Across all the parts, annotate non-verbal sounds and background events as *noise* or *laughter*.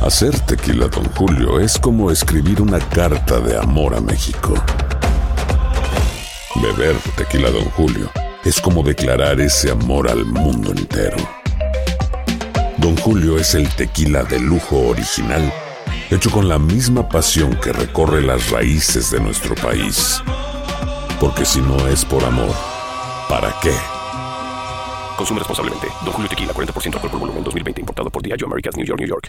Hacer tequila, Don Julio, es como escribir una carta de amor a México. Beber tequila, Don Julio, es como declarar ese amor al mundo entero. Don Julio es el tequila de lujo original, hecho con la misma pasión que recorre las raíces de nuestro país. Porque si no es por amor, ¿para qué? Consume responsablemente. Don Julio Tequila, 40% alcohol por volumen, 2020. Importado por Diageo Americas, New York, New York.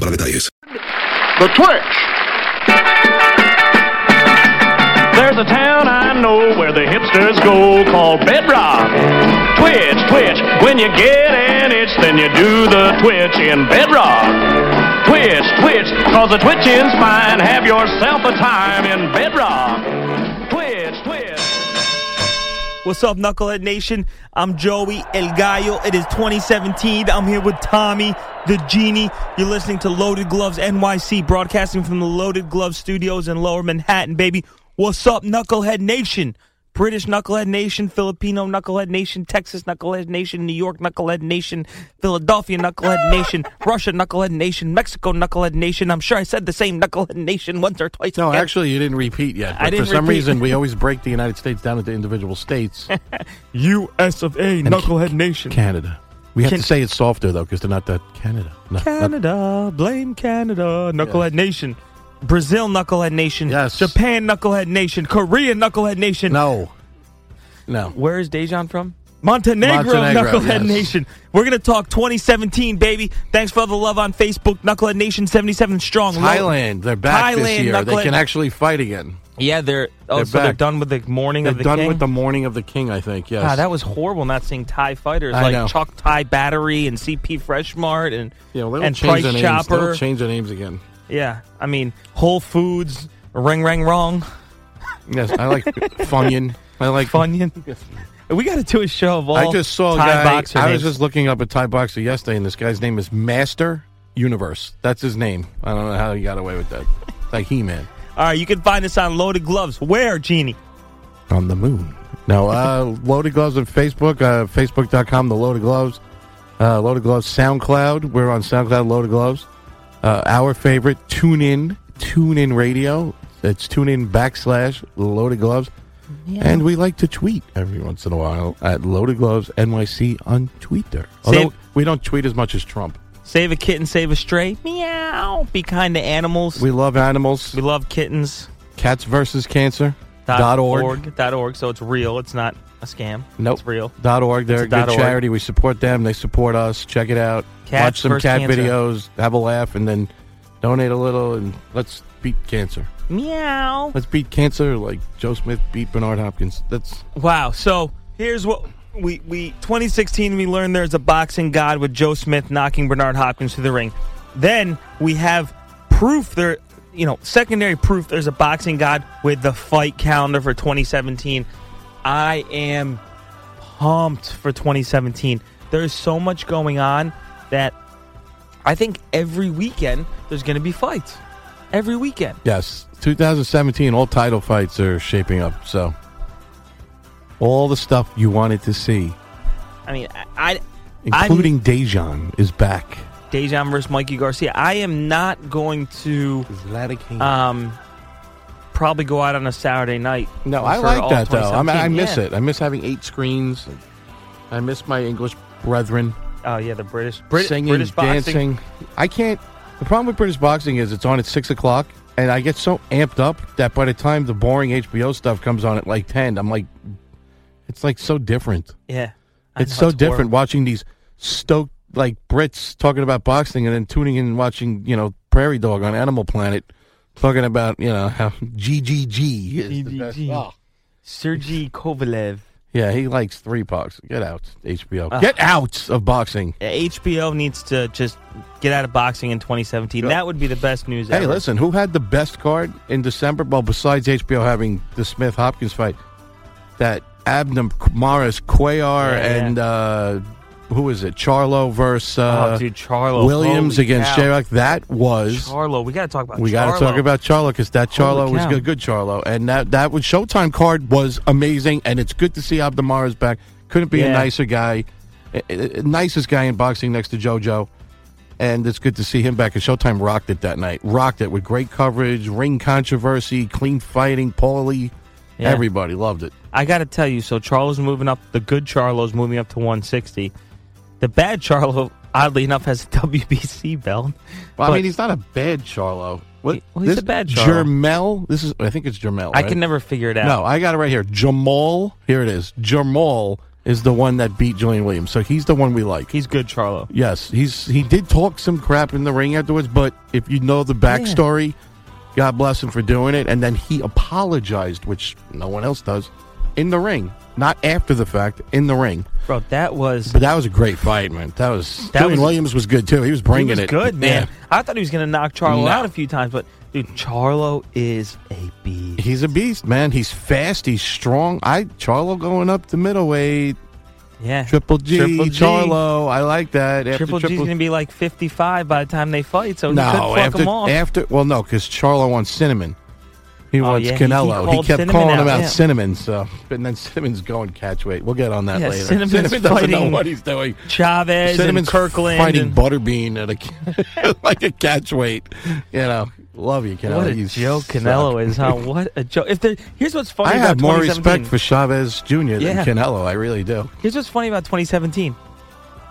para detalles. the Twitch. There's a town I know where the hipsters go called Bedrock. Twitch, Twitch, when you get an itch, then you do the Twitch in Bedrock. Twitch, Twitch, cause the twitching's fine. Have yourself a time in Bedrock. Twitch, Twitch. What's up, Knucklehead Nation? I'm Joey El Gallo. It is 2017. I'm here with Tommy, the Genie. You're listening to Loaded Gloves NYC, broadcasting from the Loaded Gloves Studios in Lower Manhattan, baby. What's up, Knucklehead Nation? British Knucklehead Nation, Filipino Knucklehead Nation, Texas Knucklehead Nation, New York Knucklehead Nation, Philadelphia Knucklehead Nation, Russia Knucklehead Nation, Mexico Knucklehead Nation. I'm sure I said the same Knucklehead Nation once or twice. No, again. actually, you didn't repeat yet. I But didn't for some repeat. reason, we always break the United States down into *laughs* individual states. U.S. of A. Knucklehead Nation. Canada. We have Can- to say it softer though, because they're not that Canada. No, not- Canada, blame Canada, Knucklehead Nation. Brazil, Knucklehead Nation. Yes. Japan, Knucklehead Nation. Korea, Knucklehead Nation. no, no. Where is Dejan from? Montenegro, Montenegro, Knucklehead yes. Nation. We're going to talk 2017, baby. Thanks for all the love on Facebook. Knucklehead Nation 77 Strong. Lo- Thailand, they're back this Thailand, year. They Knucklehead- can actually fight again. Yeah, they're, oh, They're so they're back. done with the morning They're of the done king? with the morning of the king. I think. Yes. God, that was horrible not seeing Thai fighters I like know. Chalk Thai Battery and CP Freshmart and, yeah, well, they'll and change Price their names. Chopper. They'll change their names again. Yeah, I mean Whole Foods, Ring Ring Wrong, Yes, I *laughs* like Funyun. I like Funyun. we got to do a show of all. I just saw a Thai guy. boxer I names. was just looking up a Thai boxer yesterday, and this guy's name is Master Universe. That's his name. I don't know how he got away with that. It's like He Man All right, you can find us on Loaded Gloves. Where, Genie? on the moon. No, *laughs* uh, Loaded Gloves on Facebook, uh, Facebook.com, The Loaded Gloves, uh, Loaded Gloves SoundCloud. We're on SoundCloud, Loaded Gloves. Uh, our favorite, Tune In, Tune In Radio. It's Tune In backslash Loaded Gloves. And we like to tweet every once in a while at Loaded Gloves NYC on Twitter. Although Same- we don't tweet as much as Trump. Save a kitten, save a stray. Meow. Be kind to animals. We love animals. We love kittens. Cats versus cancer. Dot org. Dot org. So it's real. It's not a scam. Nope. It's real. Dot org. They're a It's a good dot org. charity. We support them. They support us. Check it out. Cats Watch some versus cat cancer. videos. Have a laugh, and then donate a little, and let's beat cancer. Meow. Let's beat cancer like Joe Smith beat Bernard Hopkins. That's Wow. So here's what we we 2016 we learned there's a boxing god with Joe Smith knocking Bernard Hopkins to the ring. Then we have proof there, you know, secondary proof there's a boxing god with the fight calendar for 2017. I am pumped for 2017. There's so much going on that I think every weekend there's going to be fights. Every weekend. Yes, 2017. All title fights are shaping up. So all the stuff you wanted to see, I mean, I, I including Dejan, is back. I'm Dejan versus Mikey Garcia. I am not going to um, probably go out on a Saturday night. No, for I like all that though. I, mean, I 2017. miss Yeah. it. I miss having eight screens. I miss my English brethren Oh yeah, the British, Brit- singing, British boxing. dancing. I can't. The problem with British boxing is it's on at six o'clock, and I get so amped up that by the time the boring HBO stuff comes on at like ten, I'm like, it's like so different. Yeah, I It's know, so different horrible. watching these stoked like Brits talking about boxing and then tuning in and watching, you know, Prairie Dog on Animal Planet talking about, you know, how *laughs* GGG is the best. GGG. Oh. Sergey Kovalev. Yeah, he likes three bucks. Get out, HBO. Ugh. Get out of boxing. Yeah, HBO needs to just get out of boxing in 2017. That would be the best news Hey, ever. listen, who had the best card in December? Well, besides HBO having the Smith Hopkins fight, that Abner Morris, Yeah, Cuellar, yeah. and uh, who is it? Charlo versus uh, oh, dude, Charlo Williams Holy against cow. Sherrock. That was. Charlo, we got to talk about. We got Charlo. to talk about Charlo because that Charlo Holy was cow. good, good Charlo, and that that was Showtime card was amazing, and it's good to see Abdamara's back. Couldn't be a Yeah. nicer guy, a- a- a- nicest guy in boxing next to JoJo, and it's good to see him back. And Showtime rocked it that night, rocked it with great coverage, ring controversy, clean fighting, Paulie, Yeah. everybody loved it. I got to tell you, so Charlo's moving up. The good Charlo's moving up to 160. The bad Charlo, oddly enough, has a *laughs* WBC belt. Well, I But mean, he's not a bad Charlo. What? He- well, he's this- a bad Charlo. Jermel. This is, I think it's Jermel. I right? can never figure it out. No, I got it right here. Jamal, here it is. Jamal is the one that beat Julian Williams, so he's the one we like. he's good Charlo. Yes, he's he did talk some crap in the ring afterwards, but if you know the backstory, God bless him for doing it. And then he apologized, which no one else does, in the ring, not after the fact, in the ring. Bro, that was But that was a great fight, man. That was That Julian was- Williams was good too. He was bringing he was it. good, man. Yeah. I thought he was going to knock Charlo No. out a few times, but dude, Charlo is a beast. He's a beast, man. He's fast. He's strong. I Charlo going up to middleweight. Yeah, Triple G, Triple G. Charlo. I like that. After Triple G's going to be like 55 by the time they fight, so he could no, fuck after, him off. after well, no, because Charlo wants Cinnamon. He Oh, wants yeah, he- he Canelo. He, called kept Cinnamon calling out, him out yeah. Cinnamon. So, and then *laughs* Cinnamon's going catch weight. We'll get on that Yeah, later. Cinnamon's Cinnamon doesn't know fighting what he's doing. Chavez Cinnamon's and Kirkland. fighting and- Butterbean at a *laughs* like a catch weight. You know, love you, Canelo. what a you joke suck. Canelo is, huh? What a joke. If there, here's what's funny I about have more 2017. respect for Chavez Jr. than Yeah. Canelo. I really do. Here's what's funny about 2017.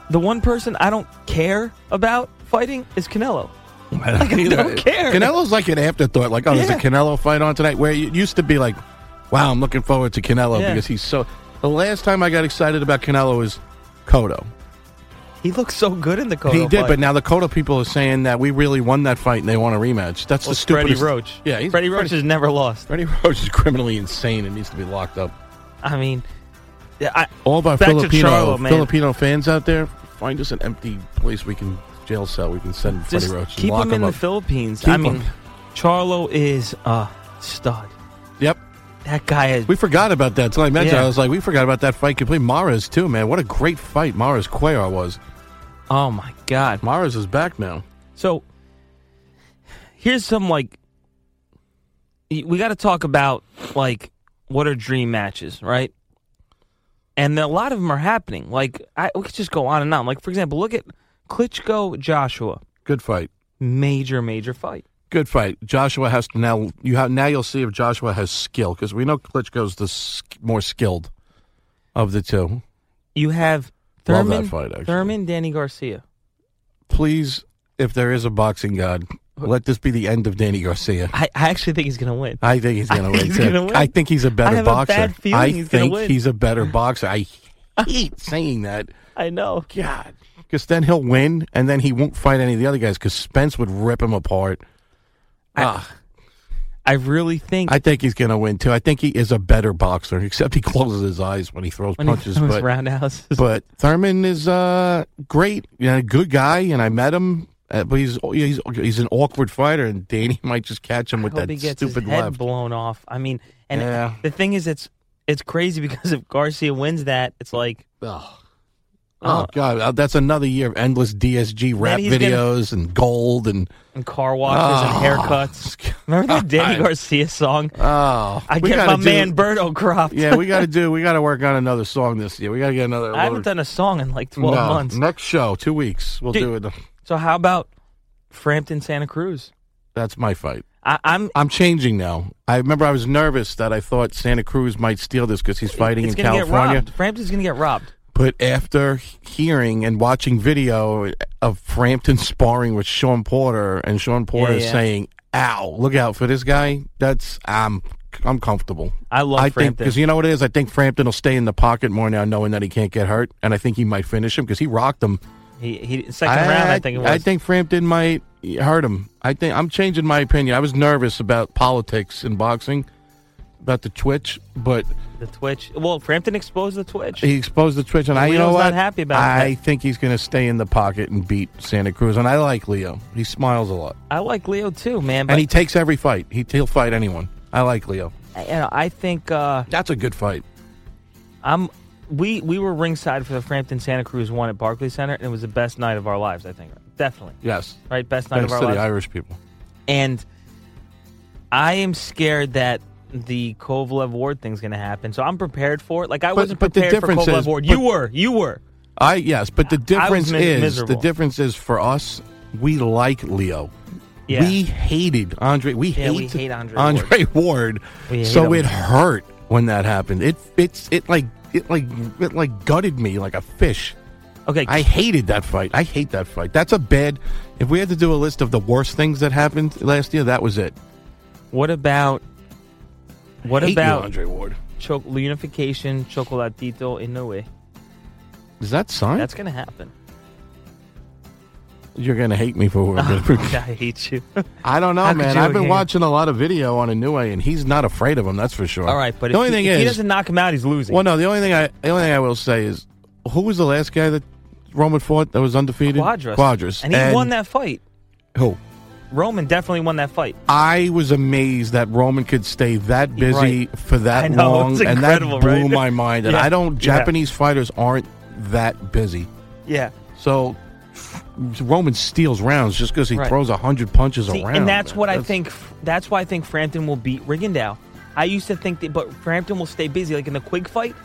The one person I don't care about fighting is Canelo. *laughs* I don't, don't care. Canelo's like an afterthought. Like, oh, there's Yeah. a Canelo fight on tonight. Where it used to be like, wow, I'm looking forward to Canelo Yeah. because he's so. The last time I got excited about Canelo was Cotto. He looks so good in the Cotto he did, fight. but now the Cotto people are saying that we really won that fight and they want a rematch. That's Well, the stupidest. Freddie Roach. Yeah, he's Freddie Roach has never lost. Freddie *laughs* Roach is criminally insane and needs to be locked up. I mean, yeah, I, All of our Back to Filipino Charlo, man. Filipino fans out there, find us an empty place we can jail cell. We can send Freddie just Roach. and keep lock him in up. the Philippines. Keep I mean, him. Charlo is a stud. Yep. That guy is. We forgot about that until I mentioned. Yeah. I was like, we forgot about that fight completely. Mara's too, man. What a great fight Mara's Cuellar was. Oh my god. Mara's is back now. So here's some like y- we got to talk about like what are dream matches, right? And a lot of them are happening. Like I we could just go on and on. Like for example, look at Klitschko Joshua, Good fight. major major fight. Good fight. Joshua has to now. You have now. You'll see if Joshua has skill because we know Klitschko's the sk- more skilled of the two. You have Love that Thurman, fight, actually. Thurman, Danny Garcia. Please, if there is a boxing god, let this be the end of Danny Garcia. I, I actually think he's gonna win. I think *laughs* he's I going to think win. he's too. gonna win. I think he's a better I have a boxer. bad feeling I he's gonna think win. he's a better boxer. I hate saying that. *laughs* I know. God. Because then he'll win, and then he won't fight any of the other guys because Spence would rip him apart. I- Ah, I really think I, think he's going to win, too. I think he is a better boxer, *laughs* except he closes his eyes when he throws when punches. he comes but, roundhouse. but Thurman is uh, great, you know, good guy, and I met him. Uh, but he's he's he's an awkward fighter, and Danny *laughs* might just catch him with I hope that he gets stupid his head left. blown off. I mean, and Yeah. Uh. the thing is, it's it's crazy because if Garcia wins that, it's like Ugh. Oh God, uh, that's another year of endless DSG rap he's gonna- videos and gold and and car washes and *laughs* haircuts. Remember that Danny Garcia song? oh, I Ah. we get my gotta do- man Berto cropped. Yeah, we got to do. We got to work on another song this year. We got to get another. *laughs* I haven't loaded- done a song in like 12 No, months. Next show, two weeks, we'll Dude. do it. So how about Frampton, Santa Cruz? That's my fight. I, I'm. I'm changing now. I remember I was nervous that I thought Santa Cruz might steal this because he's fighting it's in gonna get California. robbed. Frampton's gonna get robbed. But after hearing and watching video of Frampton sparring with Sean Porter and Sean Porter yeah. saying, "Ow, look out for this guy," that's I'm I'm comfortable. I love I think Frampton. because you know what it is. I think Frampton will stay in the pocket more now, knowing that he can't get hurt, and I think he might finish him because he rocked him. He, he second round. I think it was. I think Frampton might hurt him. I think I'm changing my opinion. I was nervous about politics in boxing, about the twitch, but the Twitch. Well, Frampton exposed the Twitch. he exposed the twitch, and I you Leo's know what? not happy about I that. think he's going to stay in the pocket and beat Santa Cruz, and I like Leo. He smiles a lot, I like Leo too, man. But and he takes every fight. He, he'll fight anyone. I like Leo. you know, I think uh, That's a good fight. I'm. We we were ringside for the Frampton Santa Cruz one at Barclays Center, and it was the best night of our lives. I think definitely Yes, right, best night thanks of to our lives. the Irish people. And I am scared that the Kovalev Ward thing's going to happen. So I'm prepared for it. Like I wasn't but the prepared for difference Kovalev is- Ward. but- you were. You were. I yes, but the difference mis- is miserable. the difference is for us. We like Leo. Yeah. We hated Andre. We Yeah, hate, we hate Andre Ward. We hate so him. it hurt when that happened. It it's it like it like it like gutted me like a fish. okay. I hated that fight. I hate that fight. That's a bad. If we had to do a list of the worst things that happened last year, that was it. what about what Hate you, about Andre Ward? cho- unification Chocolatito Inoue? Is that sign? That's going to happen. You're gonna hate me *laughs* for. it. I hate you. I don't know, How could man. you I've been hate him? watching a lot of video on Inoue, and he's not afraid of him. That's for sure. All right, but the if, only he, thing if is, he doesn't knock him out, he's losing. Well, no, the only thing I the only thing I will say is, who was the last guy that Roman fought that was undefeated? Quadras. Quadras, And he won that fight. Who? Roman definitely won that fight. I was amazed that Roman could stay that busy for I that know, long, it's and that blew incredible, right? my mind. And *laughs* Yeah, I don't. yeah. Japanese fighters aren't that busy, Yeah. so Roman steals rounds just because he Right. throws throws hundred punches See, around. and that's man. what I think. That's why I think Frampton will beat Rigondeaux. I used to think that, but Frampton will stay busy. Like in the Quig fight,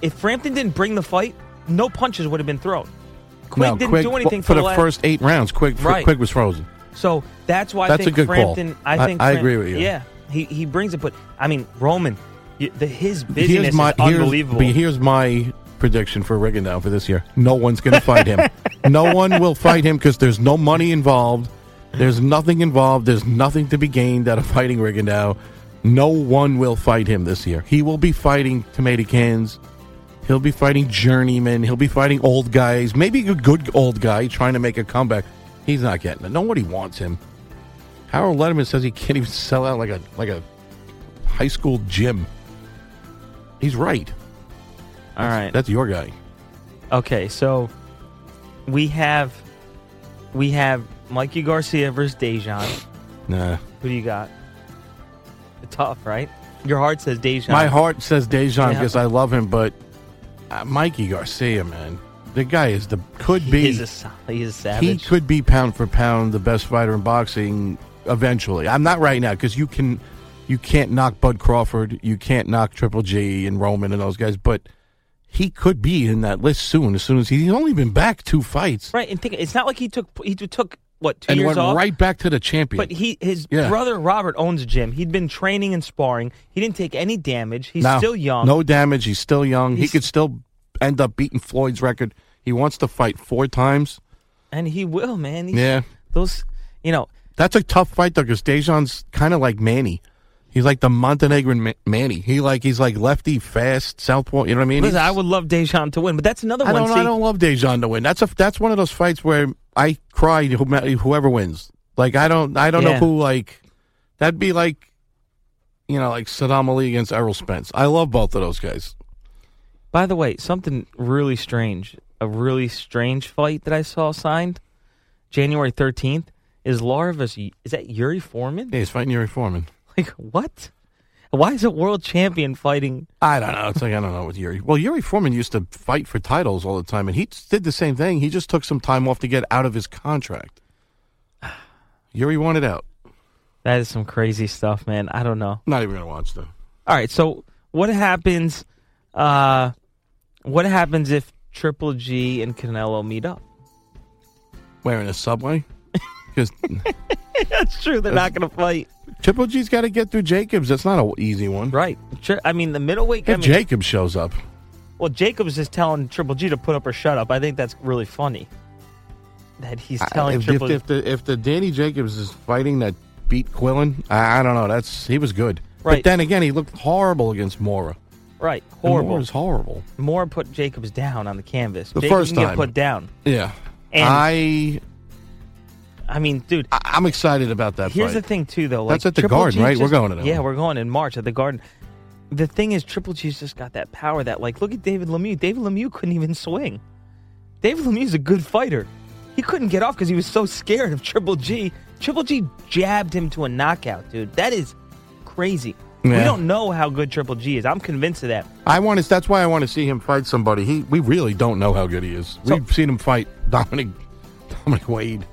if Frampton didn't bring the fight, no punches would have been thrown. Quig No, didn't Quigg- do anything for, the, last- first eight rounds. Quick, Right. quick was frozen. So that's why That's I a think good call. Frampton. I- I think I Fram- agree with you. Yeah, he he brings it, but I mean Roman, y- the, his busyness Here's my is here's, unbelievable. but here's my prediction for Rigondeaux for this year. No one's going to *laughs* fight him. no one will fight him because there's no money involved. There's nothing involved. There's nothing to be gained out of fighting Rigondeaux. No one will fight him this year. He will be fighting tomato cans. He'll be fighting journeymen. He'll be fighting old guys. Maybe a good old guy trying to make a comeback. He's not getting it. Nobody wants him. Harold Letterman says he can't even sell out like a like a high school gym. He's right. All right. That's your guy. Okay, so we have we have Mikey Garcia versus Dejan. Nah. Who do you got? Tough, right? Your heart says Dejan. My heart says Dejan Yeah. because I love him, but uh, Mikey Garcia, man, the guy is the could be He's a sa- he's a he savage. could be pound for pound the best fighter in boxing eventually. I'm not right now because you can you can't knock Bud Crawford, you can't knock Triple G and Roman and those guys, but he could be in that list soon. As soon as he's only been back two fights right, and think it's not like he took he took what two and years went off. right back to the champion. but he his Yeah. brother Robert owns a gym. He'd been training and sparring. He didn't take any damage. He's No, still young. No damage. He's still young. he He's- could still end up beating Floyd's record. He wants to fight four times. and he will, man. He's- Yeah. those you know That's a tough fight though, because Dejan's kind of like Manny. He's like the Montenegrin Ma- Manny. He like he's like lefty, fast, southpaw. You know what I mean? listen, He's- I would love Dejan to win, but that's another I one. don't. I see? don't love Dejan to win. That's a. That's one of those fights where I cry to whome- whoever wins. Like I don't. I don't know Yeah. who. Like that'd be like, you know, like Saddam Ali against Errol Spence. I love both of those guys. By the way, something really strange, a really strange fight that I saw signed January 13th is Lara versus, is that Yuri Foreman? Yeah, he's fighting Yuri Foreman. Like, what? Why is a world champion fighting? I don't know. Uh, It's like I don't know with Yuri. Well, Yuri Foreman used to fight for titles all the time, and he did the same thing. He just took some time off to get out of his contract. *sighs* Yuri wanted out. That is some crazy stuff, man. I don't know. Not even gonna watch them. All right, so what happens? Uh, what happens if Triple G and Canelo meet up? Wearing *laughs* a subway because That's true. They're not going to fight, Triple G's got to get through Jacobs. That's not an easy one. right? Tri- I mean, the middleweight. I If mean, Jacobs shows up, Well, Jacobs is telling Triple G to put up or shut up. I think that's really funny that he's telling if, Triple if, G. if the if the Danny Jacobs is fighting that beat Quillen, I, I don't know. That's he was good. Right. But then again, he looked horrible against Mora. right, And horrible. Mora's horrible. Moore put Jacobs down on the canvas. The Jacobs first can get time. put down. Yeah. And- I, I mean, dude. I I'm excited about that. Here's fight. the thing, too, though. Like, That's at the Triple Garden, G right? We're just- going to that Yeah, one. we're going in March at the Garden. The thing is, Triple G's just got that power. That like, look at David Lemieux. David Lemieux couldn't even swing. David Lemieux's a good fighter. He couldn't get off because he was so scared of Triple G. Triple G jabbed him to a knockout, dude. That is crazy. We Yeah. don't know how good Triple G is. I'm convinced of that. I want to. That's why I want to see him fight somebody. He we really don't know how good he is. So- We've seen him fight Dominic Dominic Wade.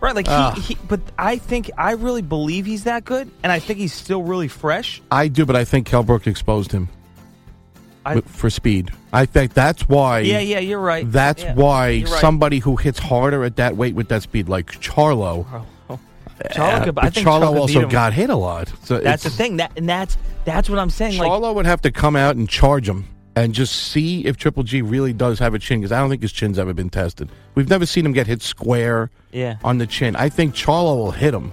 Right, like Ah. he, he, but I think I really believe he's that good, and I think he's still really fresh. I do, but I think Kell Brook exposed him I, wi- for speed. I think that's why. yeah, yeah, you're right. That's Yeah, why you're right. somebody who hits harder at that weight with that speed, like Charlo. Charlo. uh, Charlo, could, I but think Charlo Charlo could beat also him. got hit a lot. So That's the it's- thing. That and that's that's what I'm saying. Charlo Like, would have to come out and charge him and just see if Triple G really does have a chin because I don't think his chin's ever been tested. We've never seen him get hit square yeah, on the chin. I think Charlo will hit him.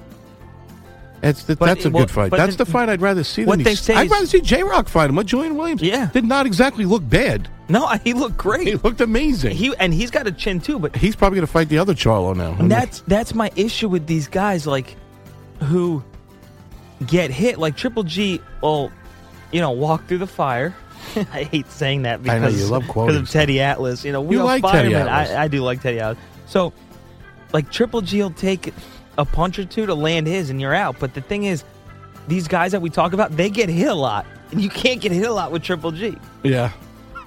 That's the, But that's a it- well, good fight. but That's the- the, fight I'd rather see. what than they these- say I'd is- rather see J Rock fight him. What Julian Williams? Yeah. did not exactly look bad. *laughs* no, *laughs* I- he looked He great. looked amazing. He and he's got a chin too, but He's probably going to fight the other Charlo now. and that's that's my issue with these guys, like who get hit. Like Triple G will, you know, walk through the fire. *laughs* I hate saying that I because know, *laughs* you love because quoting of Teddy Atlas. You know, we You are like Teddy firemen. Atlas. I, I do like Teddy Atlas. So, like Triple G will take a punch or two to land his, and you're out. But the thing is, these guys that we talk about, they get hit a lot, and you can't get hit a lot with Triple G. *laughs* yeah.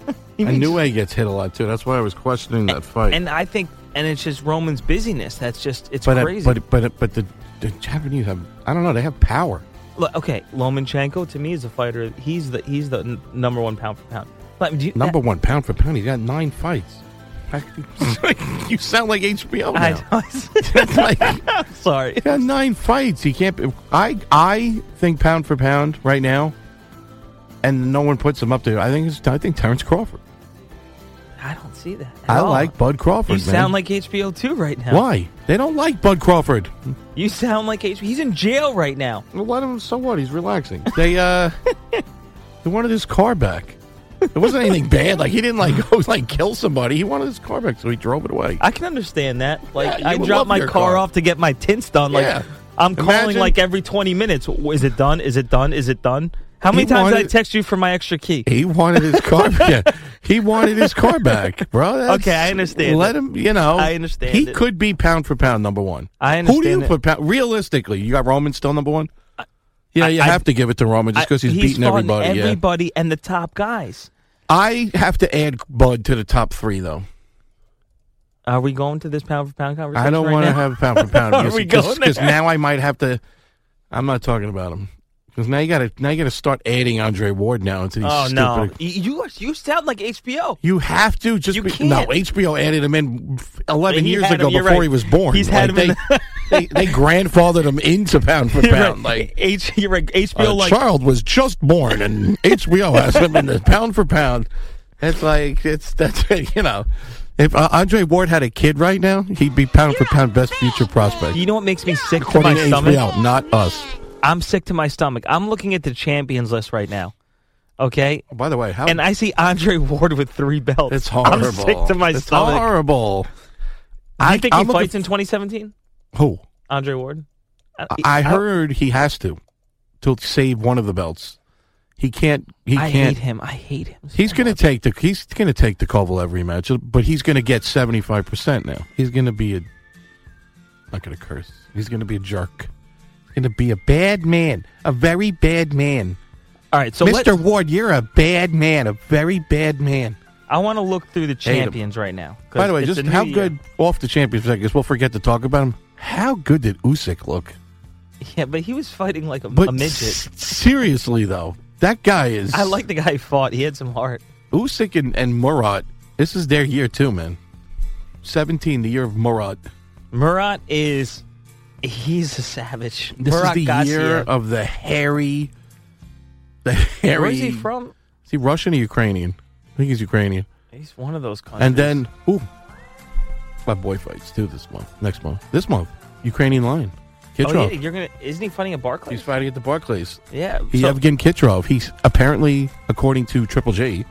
*laughs* He I means- knew A gets hit a lot too. That's why I was questioning that fight. And I think, and it's just Roman's busyness. That's just it's but, uh, crazy. but but but the, the Japanese have I don't know they have power. Look, okay, Lomachenko to me is a fighter. He's the he's the n- number one pound for pound. But do you, Number one pound for pound, he's got nine fights. *laughs* you sound like HBO I, now. *laughs* I, It's like- *laughs* I'm sorry. He had nine fights. He can't. Be, I I think pound for pound right now, and no one puts him up there. I think it's, I think Terrence Crawford. I don't see that. at I all. like Bud Crawford. You man. sound like HBO too right now. why they don't like Bud Crawford? You sound like HBO. He's in jail right now. Well, let him. So what? He's relaxing. They uh, *laughs* they wanted his car back. It wasn't anything bad. Like he didn't like *laughs* go like kill somebody. He wanted his car back, so he drove it away. I can understand that. Like Yeah, I you would drop love my car, your car. off to get my tints done. Like Yeah. I'm calling Imagine- like every 20 minutes. W- Is it done? Is it done? Is it done? How many He times did I wanted- text you for my extra key? He wanted his car *laughs* back. He wanted his car back, bro. That's- Okay, I understand Let it. him, you know. I understand He it. could be pound for pound number one. I Who do you understand it. put pound? Realistically, you got Roman still number one? Yeah, you I- have to give it to Roman just because he's, I- beating fought everybody. yeah. Everybody and the top guys. I have to add Bud to the top three, though. Are we going to this pound for pound conversation? I don't right want to now? have pound for *laughs* pound. Are we going Because there? now I might have to. I'm not talking about him. Because now you got to now you got to start adding Andre Ward now into these Oh stupid. no! You, you are- you sound like HBO. You have to just You be, can't. no. HBO added him in f- eleven He years had him, ago you're before right. he was born. He's had Like, him in they, they, *laughs* they grandfathered him into pound for pound. Like H, you're uh, right. HBO a like child was just born, and HBO has him in the pound for pound. It's like it's that's *laughs* you know, if uh, Andre Ward had a kid right now, he'd be pound for pound best future prospect. you know what makes me sick to my According to stomach? HBO, not us. I'm sick to my stomach. I'm looking at the champions list right now. Okay, By the way, how and I see Andre Ward with three belts. it's horrible. I'm sick to my it's stomach. horrible. Do you think he I'm looking fights in 2017? Who? Andre Ward. Uh, I heard he has to to save one of the belts. He can't. He I can't. hate him. I hate him. He's going to take the. He's going to take the Kovalev rematch, but he's going to get seventy five percent now. He's going to be a. Not going to curse. He's going to be a jerk. He's going to be a bad man, a very bad man. All right, so Mr. let's- Ward, you're a bad man, a very bad man. I want to look through the Hate 'em. champions right now. 'cause By the way, it's just a new how year. good off the Champions League is. We'll forget to talk about him. How good did Usyk look? *laughs* Yeah, but he was fighting like a, But a midget. s- seriously though, that guy is. I like the guy he fought. He had some heart. Usyk and, and Murat. This is their year too, man. Seventeen, the year of Murat. Murat is he's a savage. This Murat is the Gassiev. year of the hairy. The hairy. Where is he from? Is he Russian or Ukrainian? I think he's Ukrainian. He's one of those countries. And then, ooh, my boy fights too this month. Next month. This month, Ukrainian line. Kitrov. oh, yeah, you're gonna isn't he fighting at Barclays? He's fighting at the Barclays. yeah. He so- Evgen Kitrov. He's apparently, according to Triple J,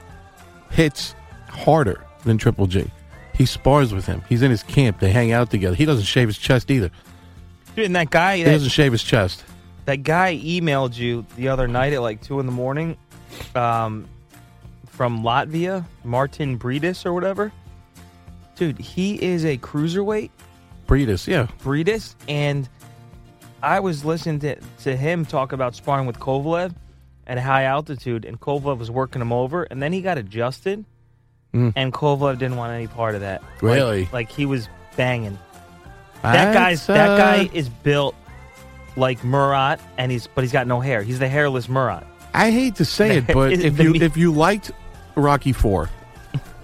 hits harder than Triple J. He spars with him. He's in his camp. They hang out together. He doesn't shave his chest either. Dude, and that guy He that, doesn't shave his chest. that guy emailed you the other night at like two in the morning, um, from Latvia, Martin Bredis or whatever. Dude, he is a cruiserweight. Breedus, yeah. Breedis, and I was listening to, to him talk about sparring with Kovalev at high altitude, and Kovalev was working him over, and then he got adjusted, Mm. and Kovalev didn't want any part of that. Like- Really? Like, he was banging. That guy's that uh, guy is built like Murat, and he's but he's got no hair. He's the hairless Murat. I hate to say *laughs* it, but Is it if the you me- if you liked Rocky Four,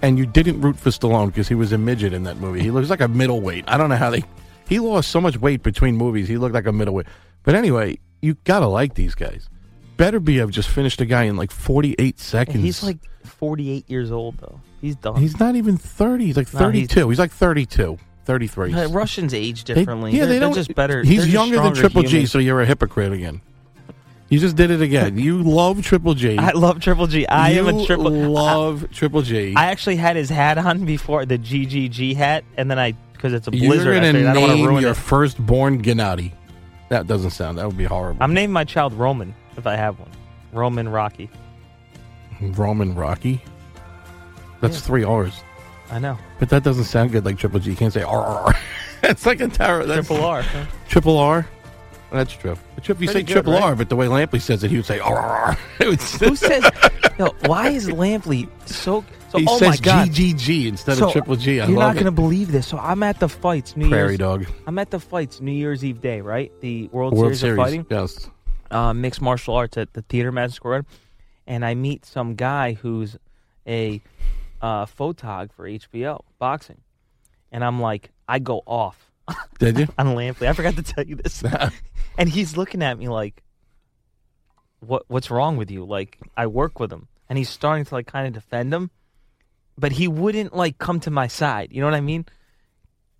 and you didn't root for Stallone because he was a midget in that movie, he looks like a middleweight. I don't know how they he lost so much weight between movies. He looked like a middleweight. But anyway, you gotta like these guys. Better be have just finished a guy in like forty eight seconds. And he's like 48 years old though. He's done. he's not even thirty. He's like No, thirty he's- two. he's like 32, 33. Uh, Russians age They- differently. yeah, they're, they they're don't. just better. He's they're just younger than stronger Triple G, humans. so you're a hypocrite again. You just did it again. You love Triple G. *laughs* I love Triple G. I am a You Triple. Love Triple G. I actually had his hat on *laughs* before the GGG hat, and then I because it's a You're blizzard. I, gonna figured I don't want to name ruin your it. firstborn Gennady. That doesn't sound. That would be horrible. I'm naming my child Roman if I have one. Roman Rocky. Roman Rocky. That's three R's, I know. but that doesn't sound good. Like Triple G, you can't say R R. *laughs* That's like a tower. That's Triple *laughs* R. triple R. That's true. Trip, Pretty you say good, triple right? R, but the way Lampley says it, he would say R R R. *laughs* It would- Who says? Yo, why is Lampley so? So he oh says my god. GGG instead So, of triple G. I you're love not gonna it. believe this. So I'm at the fights. New Prairie Year's. dog. I'm at the fights. New Year's Eve day, right? The World, World Series, Series. of Fighting. Yes. uh, mixed martial arts at the theater Madison Square Garden, and I meet some guy who's a uh, photog for HBO boxing, and I'm like, I go off Did you? on Lampley. I forgot to tell you *laughs* this, *laughs* and he's looking at me like, what What's wrong with you? Like, I work with him, and he's starting to like kind of defend him, but he wouldn't like come to my side. You know what I mean?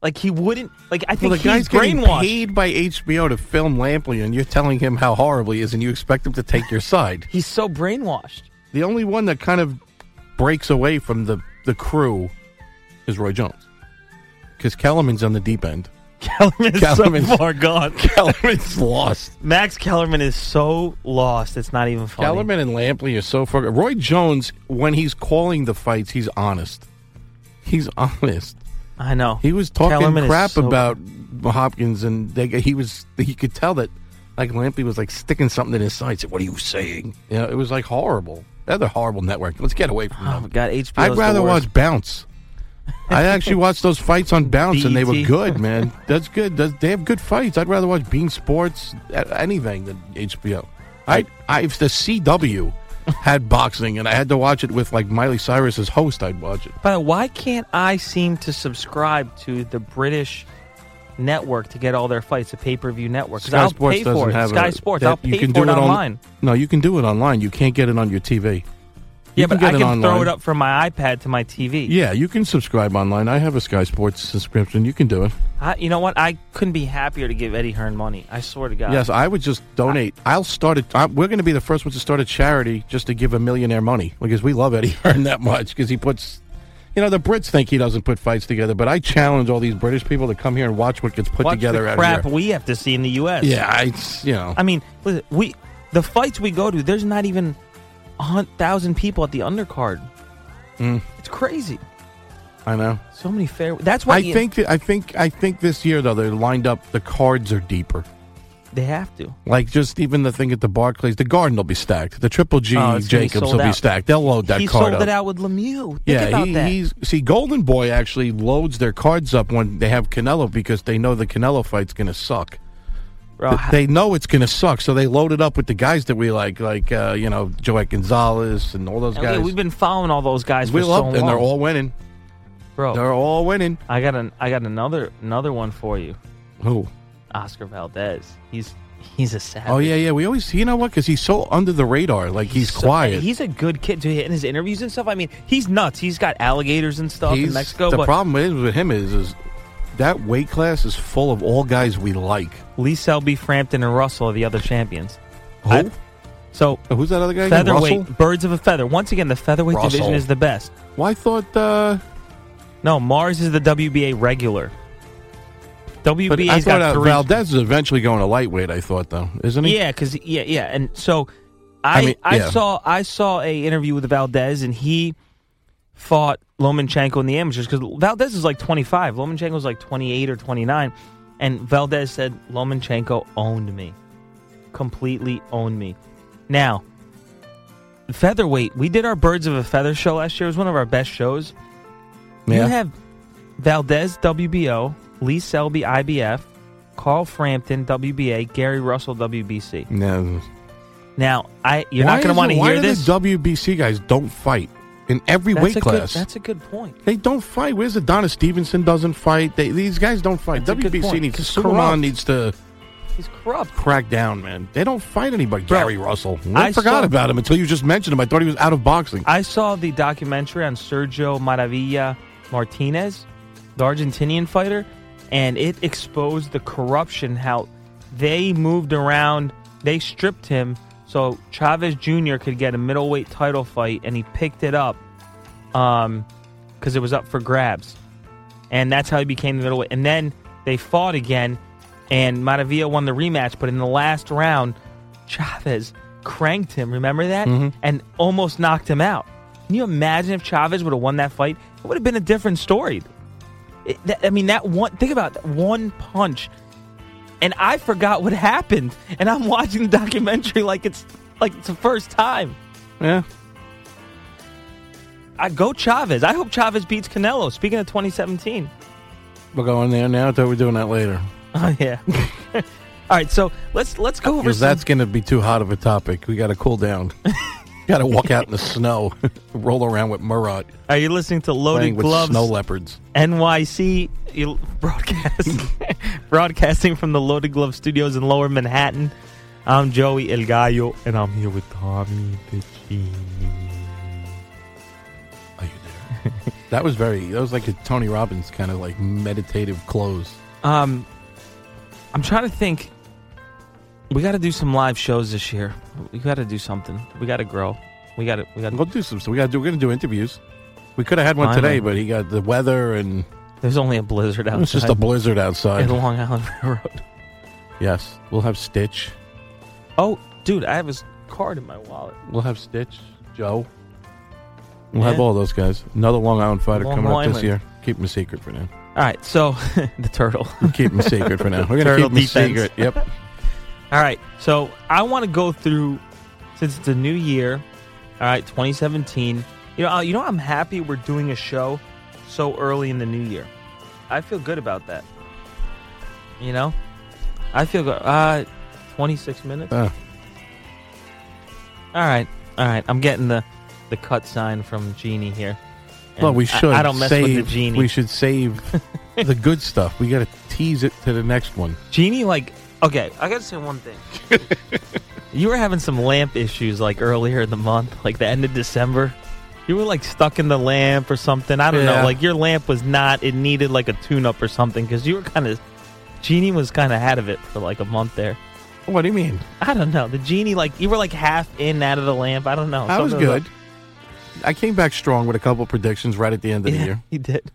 Like he wouldn't like. I think Well, the guy's he's getting brainwashed. paid by HBO to film Lampley, and you're telling him how horrible he is, and you expect him to take *laughs* your side. He's so brainwashed. The only one that kind of breaks away from the, the crew is Roy Jones. Because Kellerman's on the *laughs* deep end. Kellerman's, Kellerman's- so far gone. Kellerman's lost. Max Kellerman is so lost. It's not even funny. Kellerman and Lampley are so far. Roy Jones, when he's calling the fights, he's honest. He's honest. I know. He was talking Kellerman is crap so- about Hopkins, and they, he was he could tell that like Lampy was like sticking something in his side. He Said, "What are you saying?" You know, it was like horrible. Another horrible network. Let's get away *gasps* from Oh my them. god, HBO. I'd rather watch Bounce. I actually watched those fights on Bounce, and *laughs* they were BET. good, man. That's good. That's, they have good fights. I'd rather watch Bean Sports, a- anything than HBO. I, I if the CW had boxing and I had to watch it with like Miley Cyrus as host, I'd watch it. But why can't I seem to subscribe to the British network to get all their fights? A pay-per-view network. 'Cause I'll pay doesn't for it. have Sky a- Sports. that- I'll pay for it on- online. no, you can do it online. You can't get it on your TV. yeah, you can but get I it can throw it online. up from my iPad to my TV. Yeah, you can subscribe online. I have a Sky Sports subscription. You can do it. I, you know what? I couldn't be happier to give Eddie Hearn money. I swear to God. Yes, I would just donate. I'll start it. I, we're going to be the first ones to start a charity just to give a millionaire money because we love Eddie *laughs* Hearn that much because he puts. You know the Brits think he doesn't put fights together, but I challenge all these British people to come here and watch what gets put Watch together. the out crap Here. we have to see in the U.S. Yeah, I, it's, you know. I mean, listen, we the fights we go to, there's not even a thousand people at the undercard. Mm. It's crazy. I know. So many fair. That's why I you- think that, I think I think this year though they're lined up. The cards are deeper. They have to. Like just even the thing at the Barclays, the Garden will be stacked. The Triple G Oh, it's gonna be Jacobs sold will be out. stacked. They'll load that he card sold up. it out with Lemieux. Think yeah, about he, that. he's see Golden Boy actually loads their cards up when they have Canelo because they know the Canelo fight's going to suck. Bro, Th- They know it's going to suck, so they load it up with the guys that we like, like uh, you know Joette Gonzalez and all those and guys. we- we've been following all those guys we for love, so long. Oh. and they're all winning. Bro, They're all winning. I got an I got another another one for you. Who? Oscar Valdez. He's he's a savage. Oh yeah, yeah. We always, you know what? Because he's so under the radar. Like he's, so- quiet. He's a good kid to hit in his interviews and stuff. I mean, he's nuts. He's got alligators and stuff He's- in Mexico. The but problem is with him is is that weight class is full of all guys we like. Lee Selby, Frampton, and Russell are the other champions. Who? I- So uh, Who's that other guy? again? featherweight, Russell? birds of a feather. Once again, the featherweight division Russell. is the best. Well, I thought. Uh, No, Mars is the WBA regular. but WBA's I thought got uh, three. Valdez is eventually going to lightweight. I thought though, isn't he? Yeah, because yeah, yeah, and so I I, I mean, yeah. saw I saw a interview with Valdez, and he fought Lomachenko in the amateurs because Valdez is like twenty five, Lomachenko was like twenty eight or twenty nine, and Valdez said Lomachenko owned me, completely owned me. Now, featherweight, we did our Birds of a Feather show last year. It was one of our best shows. You Yeah. have Valdez WBO, Lee Selby IBF, Carl Frampton WBA, Gary Russell WBC. No. Now, I you're Why not going to is want it- to why hear do this. The WBC guys don't fight in every that's weight a class. Good, that's a good point. they don't fight. Where's Adonis Stevenson doesn't fight. They, these guys don't fight. That's a good WBC point. needs to It's Superman corrupt. needs to He's corrupt. crack down, man. They don't fight anybody. Bro, Gary Russell. I, I forgot saw- about him until you just mentioned him. I thought he was out of boxing. I saw the documentary on Sergio Maravilla Martinez, the Argentinian fighter, and it exposed the corruption how they moved around, they stripped him so Chavez Jr. could get a middleweight title fight, and he picked it up um, because it was up for grabs, and that's how he became the middleweight. And then they fought again, and Maravilla won the rematch. But in the last round, Chavez cranked him. Remember that, and almost knocked him out. Can you imagine if Chavez would have won that fight? It would have been a different story. It- that- I mean, that one. Think about that one punch, and I forgot what happened, and I'm watching the documentary like it's like it's the first time. yeah. I go Chavez. I hope Chavez beats Canelo. Speaking of 2017. We're going there now. I thought we were doing that later. *laughs* Oh yeah. All right, so let's let's go over Because some, that's going to be too hot of a topic. We got to cool down. got to walk out in the snow, *laughs* roll around with Murat, Are you listening to playing Loaded with Gloves snow leopards. NYC you- broadcast *laughs* broadcasting from the Loaded Glove Studios in Lower Manhattan? I'm Joey El Gallo and I'm here with Tommy Piccini. Are you there? that was very. That was like a Tony Robbins kind of like meditative close. Um I'm trying to think we got to do some live shows this year. We got to do something. We got to grow. We got to we got to We'll do some. So we got to do. We're going to do interviews. We could have had one Finally. today, but he got the weather and There's only a blizzard outside. it's just a blizzard in outside. Long Island *laughs* Railroad. Yes, we'll have Stitch. Oh, dude, I have his card in my wallet. We'll have Stitch, Joe. We'll have Yeah. all those guys. Another Long Island fighter Long coming up this Island. year. Keep them a secret for now. All right, so *laughs* the turtle. Keep them secret for now. We're gonna Turtle keep them defense. secret. Yep. All right, so I want to go through since it's a new year. All right, 2017. You know, uh, you know, I'm happy we're doing a show so early in the new year. I feel good about that. You know, I feel good. Uh, 26 minutes. Uh, All right, all right. I'm getting the the cut sign from Genie here. And well, we I- should. I, don't mess save, with the Genie. We *laughs* should save the good stuff. We got to tease it to the next one. Genie, like, okay, I gotta say one thing. *laughs* you were having some lamp issues like earlier in the month, like the end of December. You were like stuck in the lamp or something. I don't Yeah. know. Like your lamp was not. It needed like a tune up or something because you were kind of. Genie was kind of out of it for like a month there. What do you mean? I don't know. The genie, like you were like half in out of the lamp. I don't know. I was Something good. I came back strong with a couple predictions right at the end of *laughs* Yeah, the year. you did.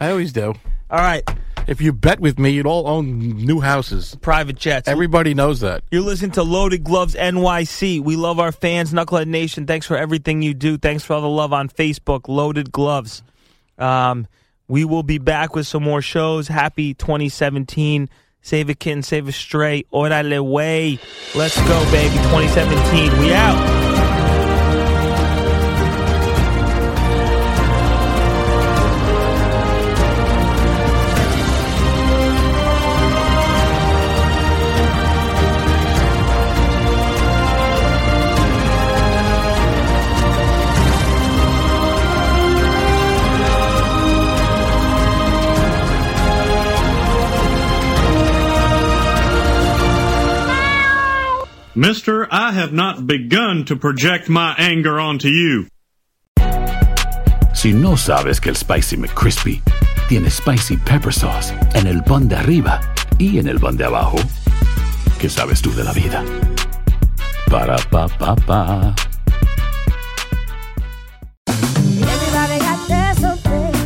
I always do. All right, If you bet with me, you'd all own new houses. private jets. Everybody knows that. You're listening to Loaded Gloves NYC. We love our fans, Knucklehead Nation. Thanks for everything you do. Thanks for all the love on Facebook, Loaded Gloves. Um, we will be back with some more shows. Happy 2017. Save a kitten, save a stray, orale way. Let's go, baby. 2017, we out. Mister, I have not begun to project my anger onto you. Si no sabes que el Spicy McCrispy tiene Spicy Pepper Sauce en el pan de arriba y en el pan de abajo, ¿qué sabes tú de la vida? Para, pa, pa, pa.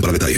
para detalles.